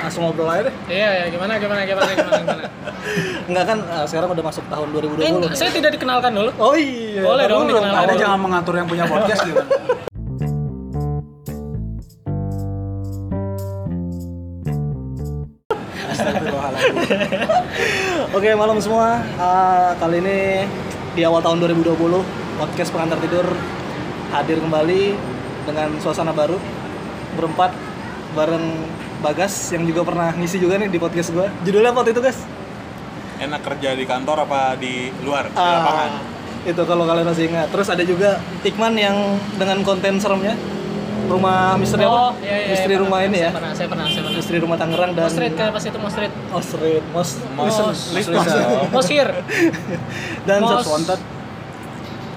langsung ngobrol aja deh. Iya, ya, gimana, gimana, gimana, gimana, gimana. Enggak kan eh, sekarang udah masuk tahun 2020. Eh, nih. saya tidak dikenalkan dulu. Oh iya. Boleh dong baru dikenalin. ada Anda Awal. jangan mengatur yang punya podcast gitu. Astagfirullahaladzim. Oke, malam semua. Ah, kali ini di awal tahun 2020 podcast pengantar tidur hadir kembali dengan suasana baru berempat bareng Bagas yang juga pernah ngisi juga nih di podcast gua. Judulnya apa waktu itu, Guys? enak kerja di kantor apa di luar di lapangan Ah, itu kalau kalian masih ingat. Terus ada juga Ikman yang dengan konten seremnya rumah misteri apa? iya, iya, misteri pernah, rumah ini ya. Saya pernah, saya pernah, saya pernah. Misteri rumah Tangerang dan Mostrit kan pasti itu mostrit. Oh, street. Mos, Mos- listeners. listeners. Listeners. Mosir. dan Mos- Mos- Konten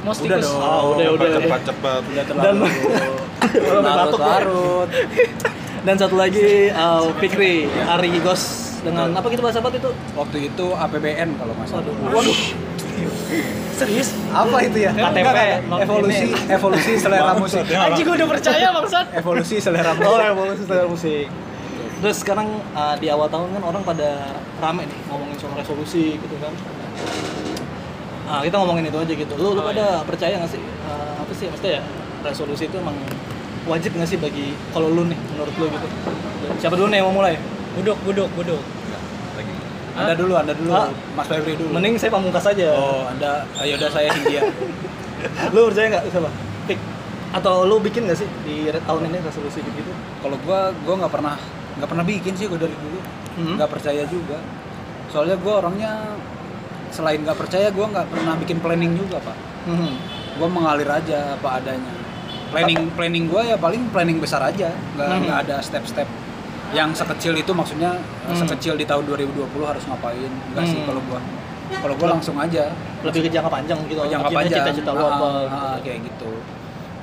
Mos udah tikus. dong. Ah, udah, Cepat, ya. udah, cepat cepat Udah Dan- terlalu Udah batuk ya. larut-larut. Dan satu lagi uh, Fikri Ari Gos dengan apa kita bahas apa waktu itu? Waktu itu APBN kalau nggak salah. Waduh. Waduh. Serius? Apa itu ya? Emang KTP enggak, Bang? Evolusi evolusi selera musik. Anjing gua udah percaya bangsat. Evolusi selera musik. Oh, evolusi selera musik. Terus sekarang uh, di awal tahun kan orang pada rame nih ngomongin soal resolusi gitu kan. Nah, kita ngomongin itu aja gitu. Lu, lu Oh, pada iya. percaya nggak sih? Uh, apa sih maksudnya ya? Resolusi itu emang wajib nggak sih bagi kalau lu nih menurut lu gitu? Siapa dulu nih yang mau mulai? Buduk, buduk, buduk. lagi Anda dulu, Anda dulu. Ah. Mas Febri dulu. Mending saya pamungkas aja. Oh, Anda ayo udah saya Hindia. lu percaya nggak sama pik atau lu bikin nggak sih di re- tahun ini resolusi gitu kalau gua gua nggak pernah nggak pernah bikin sih gua dari dulu. Hmm. Nggak percaya juga. Soalnya gua orangnya selain nggak percaya gua nggak pernah bikin planning juga, Pak. hmm. gue mengalir aja apa adanya planning planning gue ya paling planning besar aja nggak Hmm. nggak ada step-step yang sekecil itu maksudnya eh, Hmm. sekecil di tahun 2020 harus ngapain nggak sih Hmm. kalau gue kalau gue langsung aja lebih ke jangka panjang gitu jangka Maksudnya panjang cita-cita lu Ah, apa ah, ah, kayak gitu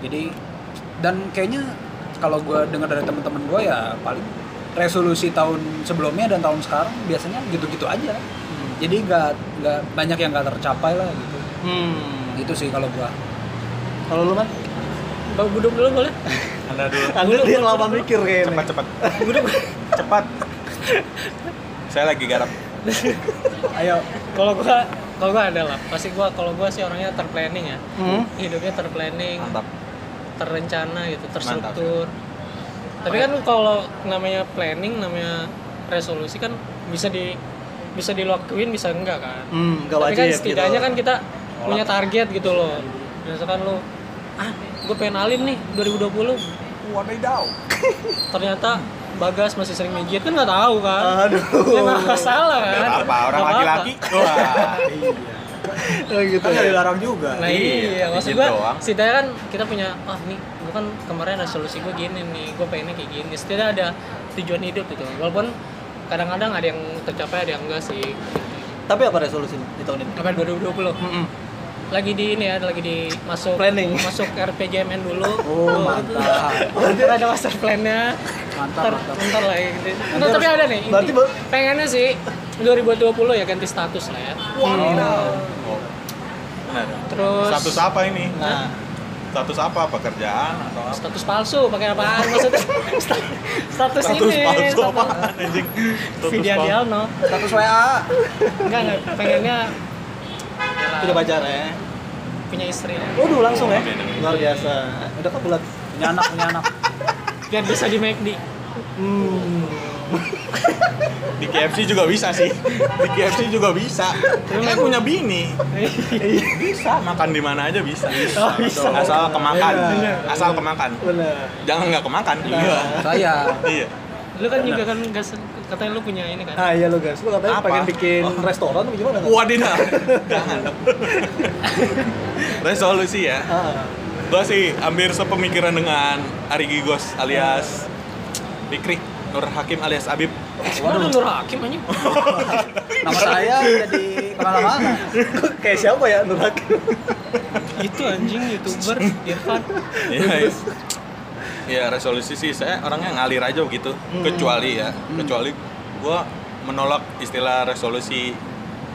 jadi dan kayaknya kalau gue dengar dari teman-teman gue ya paling resolusi tahun sebelumnya dan tahun sekarang biasanya gitu-gitu aja jadi nggak nggak banyak yang nggak tercapai lah gitu hmm. gitu sih kalau gue kalau lu kan Bang buduk dulu boleh? anda dulu Anggur dia lama mikir kayaknya cepat cepat cepat saya lagi garap ayo Kalau gua kalau gua ada lah. Pasti gua kalau gua sih orangnya terplanning ya. hmm. Hidupnya terplanning, mantap terencana gitu, terstruktur. Tapi kan kalau namanya planning, namanya resolusi kan bisa di bisa dilakuin, bisa enggak kan? hmm gak Tapi wajib kan setidaknya gitu. kan kita punya target gitu loh. Misalkan lo, ah, gue pengen alim nih 2020. wadaw Ternyata Bagas masih sering mijit kan nggak tahu kan? aduh Ya nggak masalah kan? apa orang Nggak apa-apa. laki-laki wah gitu kan nggak dilarang juga Nah Iya, iya, maksud mijit gue doang. setidaknya kan kita punya, ah nih gue kan kemarin resolusi gue gini nih, gue pengennya kayak gini. Setidaknya ada tujuan hidup gitu. Walaupun kadang-kadang ada yang tercapai, ada yang enggak sih. tapi apa resolusi lu di tahun ini Kapan 2020? Mm-mm. Lagi di ini ya, lagi di masuk Planning. masuk RPJMN dulu. Oh mantap, Ntar ada master plan-nya. mantap, Ntar, mantap. ntar lah ya, gitu. Ntar, tapi ada nih. berarti inti. ba- pengennya sih 2020 ya ganti status lah ya. Hmm. Oh. Nah, Terus status apa ini nah status apa pekerjaan atau apa status palsu pakai apaan maksudnya? Sta- status, status ini. palsu status- apa anjing status Vidya palsu Dialno. Status WA. Enggak, enggak. Pengennya udah pacaran ya punya istri lah. waduh langsung ya Amin, amin. luar biasa udah kok bulat Punya anak, punya anak. Biar bisa di McD. hmm. di KFC juga bisa sih di KFC juga bisa Tapi kan punya bini bisa makan di mana aja bisa Oh, bisa. asal kemakan Iya. asal kemakan benar jangan nggak kemakan iya Saya. iya Lu kan juga kan enggak se- katanya lu punya ini kan. Ah iya lo guys, lo katanya Apa? pengen bikin Oh. restoran apa gimana? Nggak? wadidah jangan resolusi ya Ah, gua sih hampir sepemikiran dengan Ari Gigos alias Bikri Nur Hakim alias Abib Waduh, Nur Hakim anjing. Nama saya jadi kemana-mana. kayak siapa ya Nur Hakim? Itu anjing YouTuber Irfan. Iya, iya. Iya, resolusi sih saya orangnya ngalir aja begitu. Hmm. Kecuali ya, kecuali gua menolak istilah resolusi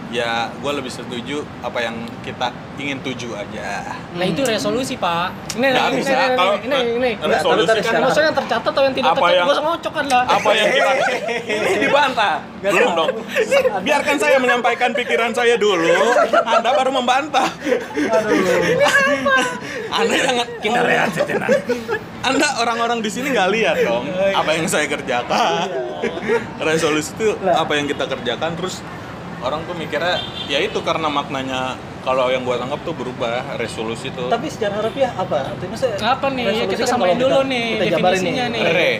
ya gue lebih setuju apa yang kita ingin tuju aja Nah itu resolusi pak. Ini Nggak ini, bisa, ini, ini, kalau ini, ini, ini. Nggak, tapi resolusi tadi kan secara- Maksudnya yang tercatat atau yang tidak Apa tercatat, yang- gue sama ngocok kan lah. apa yang kita ini dibantah belum dong biarkan saya menyampaikan pikiran saya dulu anda baru membantah anda jangan kita lihat anda orang-orang di sini nggak lihat dong Iya. apa yang saya kerjakan resolusi itu apa yang kita kerjakan terus orang tuh mikirnya ya itu karena maknanya kalau yang gua tangkap tuh berubah resolusi tuh Tapi secara harfiah apa? Artinya saya Apa nih? resolusi Kita kan samain kalau dulu kita- nih kita jabarin definisinya nih. re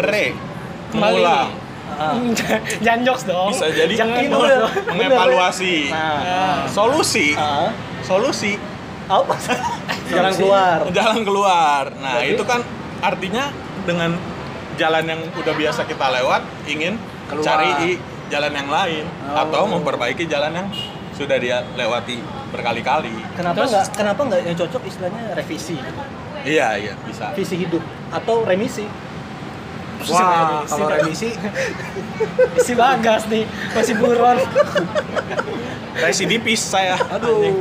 re Kembali mengulang nih. Ah. Nah, Hmm, Jangan jokes dong. bisa jadi Iya. Jangan menge- bener. mengevaluasi Nah, solusi ah, solusi apa? Jalan keluar. jalan keluar nah Jadi- itu kan artinya dengan jalan yang udah biasa kita lewat ingin Keluar. cari i- jalan yang lain Oh. atau memperbaiki jalan yang sudah dia lewati berkali-kali Kenapa Terus- nggak? Kenapa nggak yang cocok istilahnya revisi, iya iya bisa visi hidup atau remisi? Wah, kalau remisi si Bagas nih, masih buron. residivis saya aduh.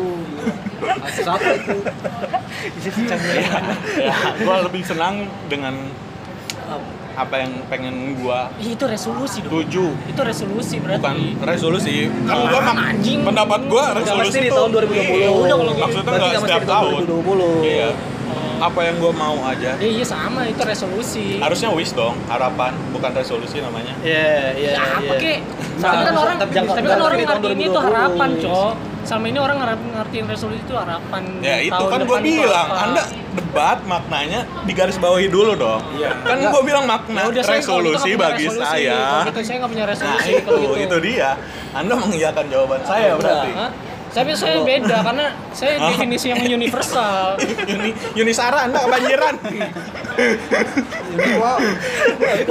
Masih Apa itu? ya, ya gue lebih senang dengan apa yang pengen gua Ih, itu resolusi dong. tuju Itu resolusi berarti. bukan resolusi kan gua mak- anjing. pendapat gua Nggak resolusi mesti di itu tahun 2020. Iya, udah kalau gitu. Berarti maksudnya nggak nggak mesti setiap di tahun tahun 2020. iya apa yang gua mau aja Eh, iya sama, itu resolusi. harusnya wish dong harapan bukan resolusi namanya Iya, iya, Ya, apa kek? Nah, Tapi kan orang, tetap jangka- tapi kan tetap orang di tahun ngertiin itu 2020. harapan, cok. Sama ini orang ngarap ngertiin resolusi itu harapan. ya itu tahun kan depan gua itu bilang apa. anda debat maknanya di garis bawahi dulu dong Iya. kan gua bilang makna Ya udah, saya kalau gitu nggak resolusi punya bagi resolusi. Kalau saya gitu saya nggak punya nah resolusi itu kalau gitu. itu dia anda mengiyakan jawaban saya berarti Hah? Tapi saya beda karena saya Ah. definisi yang universal. Yuni Yunisara anda kebanjiran Kan? Wow.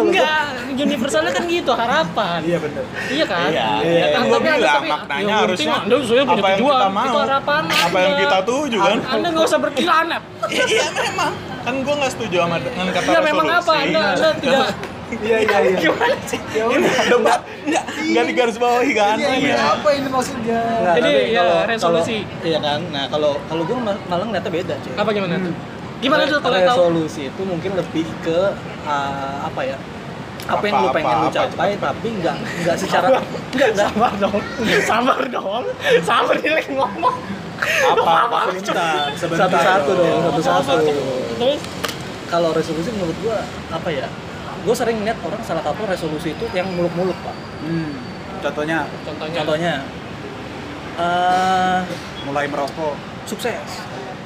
Enggak, universalnya kan gitu harapan. Iya benar. Iya kan? Iya, iya, kan tapi gua Anda- bilang tapi- maknanya yang harusnya penting Anda saya punya apa yang tujuan. kita mau, itu harapan apa yang Anda. kita tuju kan? Anda nggak usah berkira anak. Iya iya, memang. Kan gua nggak setuju sama dengan kata Iya memang apa? resolusi. Anda Anda tidak Iya, iya, iya. gimana sih? Ini debat nggak nggak Iya. di garis bawahi kan? Iya, iya, apa ini maksudnya? Nggak, Jadi, tapi ya, kalau- resolusi. kalau- iya kan. Nah, kalau kalau gue malah ngeliatnya beda, cuy. Apa gimana Hmm. tuh? Gimana tuh kalau tahu? resolusi itu mungkin lebih ke uh, apa ya? Apa, yang lu Apa, pengen apa, lu apa, capai tapi nggak nggak secara nggak nggak Sabar dong, sabar dong, sabar dia lagi ngomong. Apa? Sebentar, sebentar. satu-satu dong, Iya, satu-satu. Terus Kalau resolusi menurut gua apa ya? Gue sering lihat orang salah kapur resolusi itu yang muluk-muluk, Pak. Hmm, contohnya contohnya, Contohnya eh mulai merokok. sukses.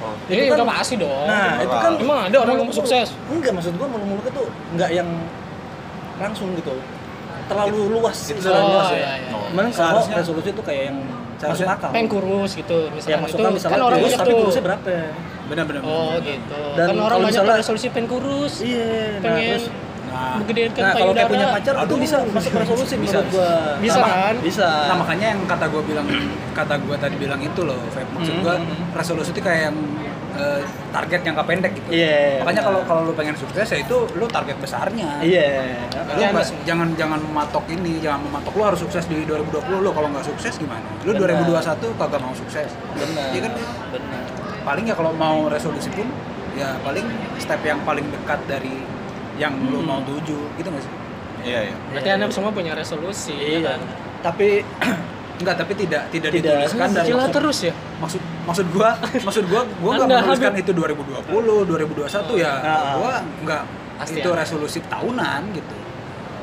Oh. ini itu kan- udah pasti dong. Oh, Nah, itu kan Emang ada orang yang muluk-muluk. sukses? Enggak, maksud gua muluk-muluk itu enggak yang langsung gitu. Terlalu luas sih, Oh, luas ya. iya, iya. Mending kalau Seharusnya- resolusi itu kayak yang masuk akal. pengen kurus gitu yang misalnya masuk itu akal misalnya kan orang kurus, banyak Iya, tapi tuh. kurusnya berapa? Benar-benar. oh gitu Dan kan orang kalau banyak misalnya- tuh resolusi pengen kurus Iya, nah pengen terus Nah, gedein Nah, kan kalau kayak punya pacar itu Aduh. bisa masuk resolusi Bisa, menurut gua. Bisa Nah, kan? Bisa. Nah makanya yang kata gue bilang kata gue tadi bilang itu loh, Feb. maksud gue Hmm, hmm. resolusi itu kayak yang eh, target jangka pendek gitu. Iya, benar. makanya kalau kalau lu pengen sukses ya itu lu target besarnya. Iya. Lu Iya, nggak- iya. jangan jangan mematok ini, jangan mematok lu harus sukses di 2020 lu kalau nggak sukses gimana? Lu Benar. 2021 kagak mau sukses. Benar. Iya kan? Benar. Paling ya kalau mau resolusi pun ya paling step yang paling dekat dari yang lu Hmm. mau tuju gitu nggak sih? Iya iya. berarti anda semua punya resolusi Iya. kan? Tapi Enggak, tapi tidak tidak, Tidak. dituliskan dan Gila maksud- terus ya maksud maksud gua maksud gua gua nggak Anda menuliskan habis- itu 2020 2021 ya Ah. gua nggak Pasti itu ada. resolusi tahunan gitu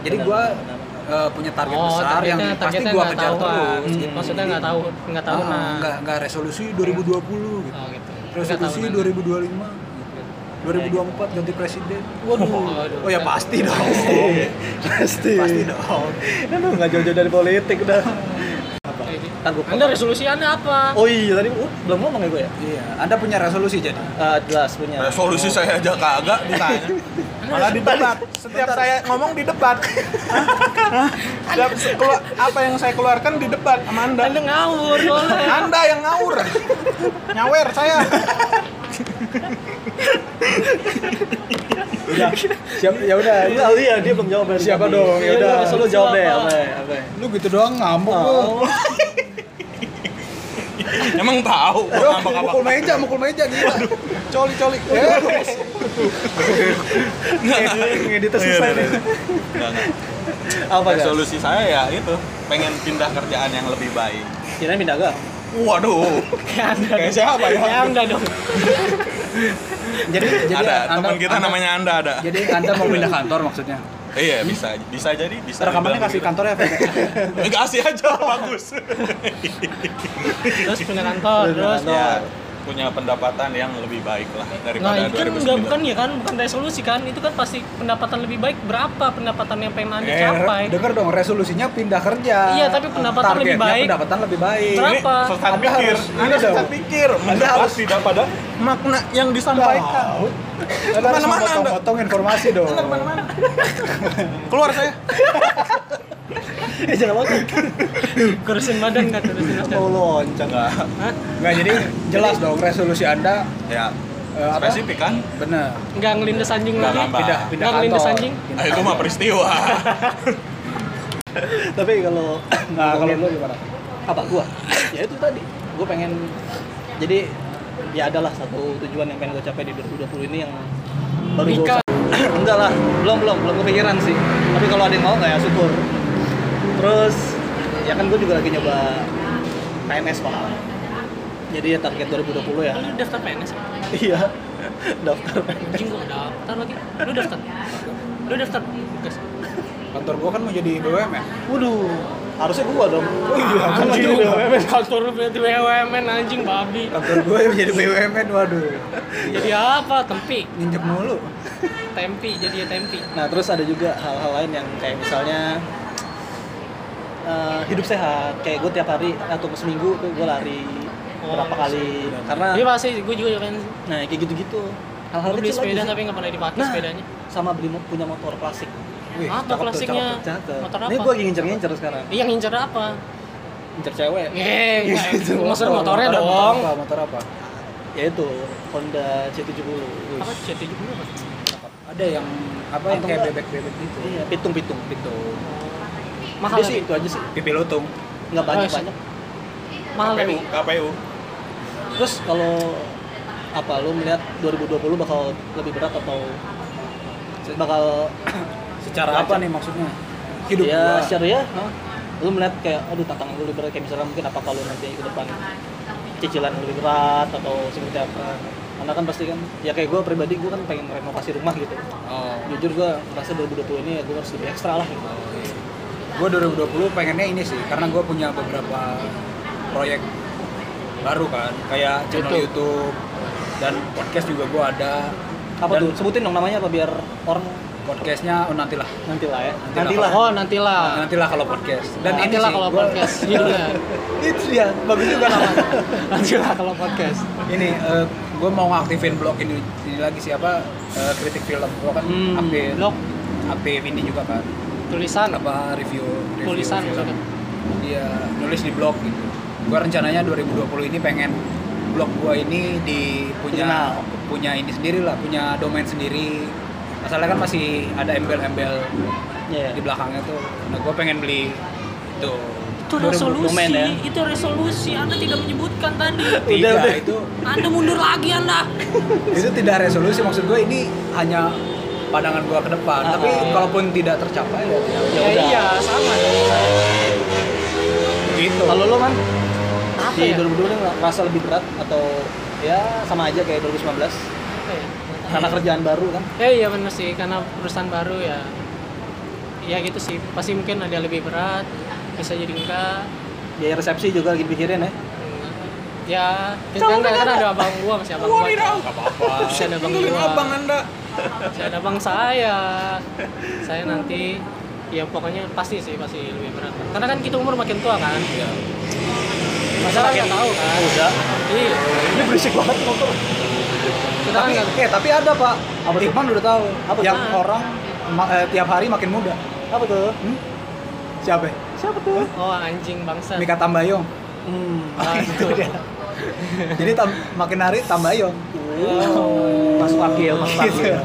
jadi Benar, gua benar, eh, punya target besar yang pasti gua Oh, nggak kejar tahuan. Hmm, terus gitu. maksudnya Jadi, nggak tahu nggak ah, tahu nah nggak nggak resolusi 2020 gitu oh, Iya, gitu resolusi 2025 gitu. 2024 ganti presiden waduh Waduh. oh ya pasti dong pasti. pasti dong Aduh, nggak jauh-jauh dari politik dah. Ntar gua gitu. anda resolusi anda apa Oh iya, tadi uh, belum ngomong ya gue ya? iya anda punya resolusi jadi Eh, jelas punya. Resolusi saya aja kagak ditanya. Malah didebat. Setiap saya ngomong didebat. Setiap se- kelu- apa yang saya keluarkan didebat sama Anda. anda ngawur boleh Anda yang ngawur. Nyawer saya. Ya, siap, ya udah. Iya, iya, dia belum jawab. Siapa dong? Ya Ya udah. udah, lu jawab deh. Apa? Apa? Apa? Oh. lu gitu doang ngambek lu. Oh. Emang tahu Aduh, ngambek apa? mukul meja, mukul meja gila. Coli, coli. Eh. Ngeditnya Iya, susah nih. Apa guys? Resolusi saya ya itu pengen pindah kerjaan yang lebih baik. Kirain pindah agama. Waduh. Kayak siapa ya? Ya anda dong. Jadi jadi ada Anda- teman kita Anda- namanya Anda ada. Jadi Anda mau pindah kantor maksudnya? iya bisa bisa jadi bisa. Rekamannya dibilang kasih gitu. kantornya apa? Eh, Kasih aja bagus. Terus pindah kantor, Terus pindah terus kantor. Iya. ya punya pendapatan yang lebih baik lah Nah, daripada itu kan nggak 2009. bukan ya kan, bukan resolusi kan? Itu kan pasti pendapatan lebih baik berapa pendapatan yang pengen Anda Eh, capai. denger dong, resolusinya pindah kerja. Iya, tapi pendapatan lebih Targetnya baik. pendapatan lebih baik. Berapa? Ini sesat Anda pikir, harus- Anda ini sesat dong. pikir, Anda harus tidak pada makna yang disampaikan. Tahu. Anda harus Kemana-mana Anda. memotong-motong informasi dong. Keluar saya. Eh jangan banget. Kurusin badan kan, kurusin badan. Mau loncat. Hah? Nggak, jadi jelas dong resolusi Anda Ya, eh, apa? spesifik kan? Benar. Nggak ngelindes anjing Nggak lagi. nambah. Pindah pindah Nggak ngelindes kantor. anjing. Nah, itu mah peristiwa. Tapi kalau Nah, kalau lu gimana? apa gua? Ya itu tadi. Gua pengen jadi ya adalah satu tujuan yang pengen gue capai di 2020 ini yang baru gua Nikah. usah- enggak lah belum belum belum kepikiran sih tapi kalau ada yang mau nggak ya syukur terus ya kan gue juga lagi nyoba PNS pak jadi ya target 2020 ya Lu daftar PNS? iya daftar Anjing gua nggak daftar lagi. Lu daftar? Lu daftar? Gas. Kantor gua kan mau jadi BUMN. waduh harusnya gua dong iya Anjing BUMN kantor lu berarti BUMN anjing babi. Kantor gua yang jadi BUMN, E, waduh. Jadi apa? Tempi. Nginjek mulu. Tempi jadi ya tempi. Nah terus ada juga hal-hal lain yang kayak misalnya eh, hidup sehat. Kayak gue tiap hari atau seminggu tuh gue lari Oh, berapa kali karena Iya pasti gua juga kan. nah kayak gitu-gitu hal-hal Gua beli kecil sepeda aja sih. tapi nggak pernah dipakai Nah, sepedanya. sama beli mo- punya motor klasik. Wih, Apa cakep tuh, klasiknya? cakep. Cakep. Motor Ini apa? gue lagi ngincer-ngincer sekarang. Iya ngincer apa? Ngincer cewek. Eh, Gitu. motor motornya Motor- dong. Motor apa? Motor apa? Ya itu Honda C70. Wih. Apa C70 apa? Ada yang apa yang Atau kayak enggak? bebek-bebek gitu. Iya, pitung-pitung, pitung. Mahal Udah ya, Oh, iya sih tapi. itu aja sih. Pipi lutung. Nggak banyak-banyak. Mahal ya, tapi. KPU, KPU. Terus kalau apa lu melihat 2020 bakal lebih berat atau bakal Secara apa nih maksudnya? Hidup hidup Iya, ya gua. share ya huh? lu melihat kayak aduh tantangan lu lebih berat kayak misalnya mungkin apa kalau nanti ke depan cicilan lebih berat atau seperti apa karena kan pasti kan ya kayak gue pribadi gue kan pengen renovasi rumah gitu Oh. jujur gue merasa 2020 ini ya gue harus lebih ekstra lah gitu Gue 2020 pengennya ini sih, karena gue punya beberapa proyek baru kan, kayak channel Betul. YouTube dan podcast juga gue ada. apa Dan tuh sebutin dong namanya apa biar orang Podcastnya oh, nantilah, nanti lah ya Nantilah. nanti lah Oh, nantilah. nantilah kalau podcast. Dan ini Nah, nantilah sih, kalau gua- podcast. Iya. itu dia bagus juga namanya nantilah kalau podcast. ini gue mau ngaktifin blog ini, ini lagi siapa kritik film gue kan Hmm, aktif Blog aktif ini juga kan tulisan apa review, review tulisan film. maksudnya. Iya, nulis di blog gitu. Gue rencananya 2020 ini pengen blog gua ini di punya Dikenal. punya ini sendiri lah, punya domain sendiri. Masalahnya kan masih ada embel-embel ya di belakangnya tuh. Nah, gue pengen beli itu. Itu 2000 resolusi, domain ya. itu resolusi. Anda tidak menyebutkan tadi. Udah, Tidak, udah. itu Anda mundur lagi Anda. itu tidak resolusi maksud gue ini hanya pandangan gua ke depan. Ah. Tapi kalaupun tidak tercapai ya tidak. ya Ya, udah iya, sama dong saya. Gitu. kalau lu man Apa di ya? 2020 ini merasa lebih berat atau ya sama aja kayak 2019 Apa ya? karena kerjaan baru kan Ya iya benar sih karena perusahaan baru ya. Ya gitu sih. Pasti mungkin ada yang lebih berat, bisa jadi enggak. biaya resepsi juga lagi dipikirin ya Ya, kan kan kan ada abang gua masih abang gua. Gak apa-apa. Masih ada abang Panggilin gua. abang Anda. Masih ada abang saya. Saya nanti ya pokoknya pasti sih pasti lebih berat. Karena kan kita umur makin tua kan. Iya. Masalah nggak tahu kan. udah Iya. ini berisik banget motor Kita kan Tapi, nggak eh, tapi ada pak, Apa tuh? Iqman udah tahu Apa tuh? yang orang ma- eh, tiap hari makin muda. Hmm? apa tuh Eh. Siapa? ya? siapa tuh Oh anjing bangsa. Mika Tambayong. hmm Ah, itu. Jadi tam- makin hari Tambayong. Oh. masuk akil masuk Gitu. akil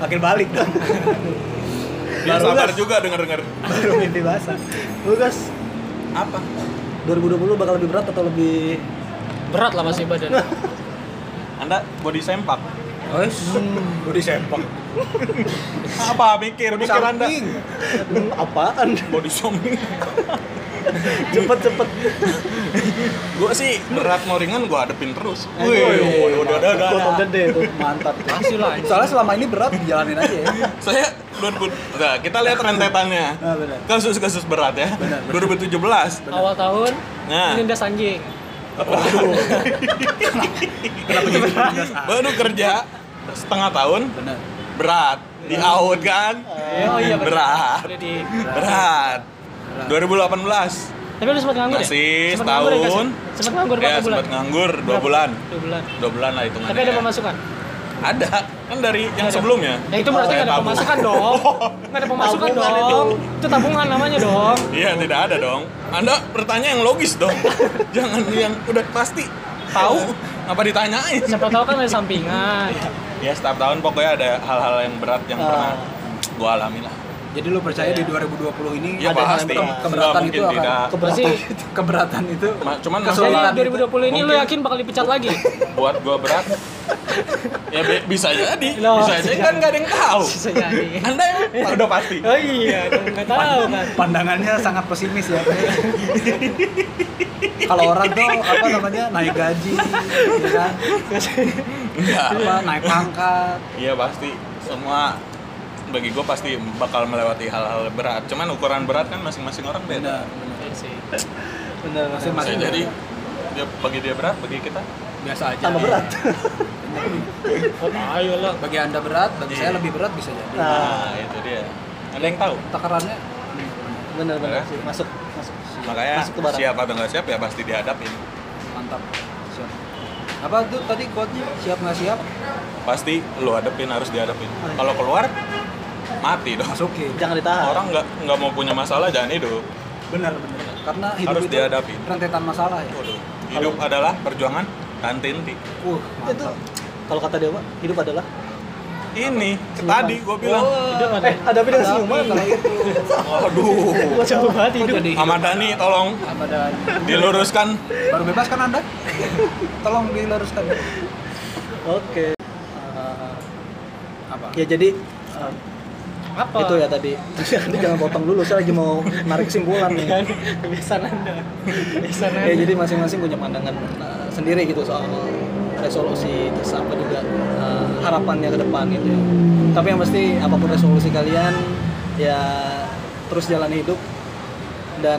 Makin balik dong. Dia Baru sabar gas. juga denger-denger. Baru mimpi basah. lu guys Apa? 2020 bakal lebih berat atau lebih berat lah pasti badan Anda body sempak. Oh, hmm. udah sempak. Apa mikir mikir Anda? Samping. Aduh, apaan? Body shopping. cepet cepet. gua sih berat mau ringan gua hadepin terus. Eh, Wih, woi, woi, udah udah udah. Foto gede tuh. Mantap. Masih lah, anjing. Soalnya selama ini berat dijalanin aja ya. Saya dua ribu- Nah, kita lihat rentetannya. Nah, benar. Kasus-kasus berat ya. 2017. awal tahun Nah. ini udah sanjing Baru kerja setengah tahun Benar. berat di out kan? oh iya bener. Berat. Udah di Berat. 2018 tapi lu sempat nganggur Masih ya? Sempet nganggur ya, nggak sih? setahun. Sempet nganggur berapa ya bulan? sempat nganggur dua Berapa? bulan. dua bulan Dua bulan lah hitungannya. tapi ada ya. pemasukan Ada. Kan dari yang sebelumnya. ya itu berarti Saya nggak ada Oh, iya, tabung. pemasukan dong nggak ada pemasukan Tabungan dong itu tabungan namanya dong Iya, tidak ada dong. Anda bertanya yang logis dong. Jangan yang udah pasti tahu Iya. apa ditanyain. siapa tahu kan ada sampingan Ya setiap tahun pokoknya ada hal-hal yang berat Ah. yang pernah gua alami lah. Jadi lu percaya di 2020 ini Ya Ada yang pasti. kem- Nggak keberatan itu akan mungkin tidak. berarti Keberatan. keberatan itu Ma- cuman jadi Kesulitan. 2020 ini lu Mungkin. yakin bakal dipecat lagi Buat gua berat. ya bi- bisa jadi. Loh. Bisa jadi kan nggak ada yang tahu. bisa jadi Anda emang udah pasti. oh iya nggak tahu kan pandangannya sangat pesimis ya. Kalau orang tuh apa namanya naik gaji, ya kan? Enggak. apa naik pangkat. Iya pasti semua bagi gue pasti bakal melewati hal-hal berat. Cuman ukuran berat kan masing-masing orang Benar, beda. benar. Iya sih. Bener, Mas. Bisa Masing-masing jadi dia bagi dia berat, bagi kita biasa aja. Tambah berat. Oh, ayo lah Bagi anda berat, bagi Iya. saya lebih berat bisa jadi. Nah, nah itu dia. Ada yang tahu? Takarannya bener bener Bener. sih. Masuk, masuk. Makanya Masuk ke barat. siap atau nggak siap ya pasti dihadapin. mantap. Siap. Apa tuh tadi quote-nya? Siap nggak siap? Pasti lu hadapin harus dihadapin. Kalau keluar mati dong. Masukin. Jangan ditahan. Orang nggak nggak mau punya masalah jangan hidup. Benar, benar. Karena hidup Harus itu dihadapi. rentetan masalah ya. Waduh. Hidup adalah perjuangan dan tinti. Uh, itu mantap. kalau kata Dewa, hidup adalah Ini tadi gue bilang. hidup ada Eh, ada api dengan senyuman. Kalau itu Waduh. gua coba banget kok hidup jadi Ahmad Dhani tolong apa dan diluruskan baru bebas kan anda? Tolong diluruskan. ya. Oke. Apa? Ya jadi eh, apa itu ya tadi. Nanti jangan potong dulu, saya lagi mau narik kesimpulan nih. kan kebiasaan anda kebiasaan anda ya jadi masing-masing punya pandangan uh, sendiri gitu soal resolusi terus apa juga uh, harapannya ke depan gitu ya tapi yang pasti apapun resolusi kalian ya terus jalan hidup dan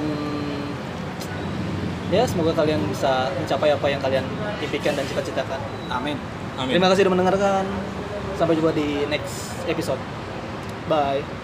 ya semoga kalian bisa mencapai apa yang kalian impikan dan cita-citakan Amin. Amin. terima kasih sudah mendengarkan sampai jumpa di next episode bye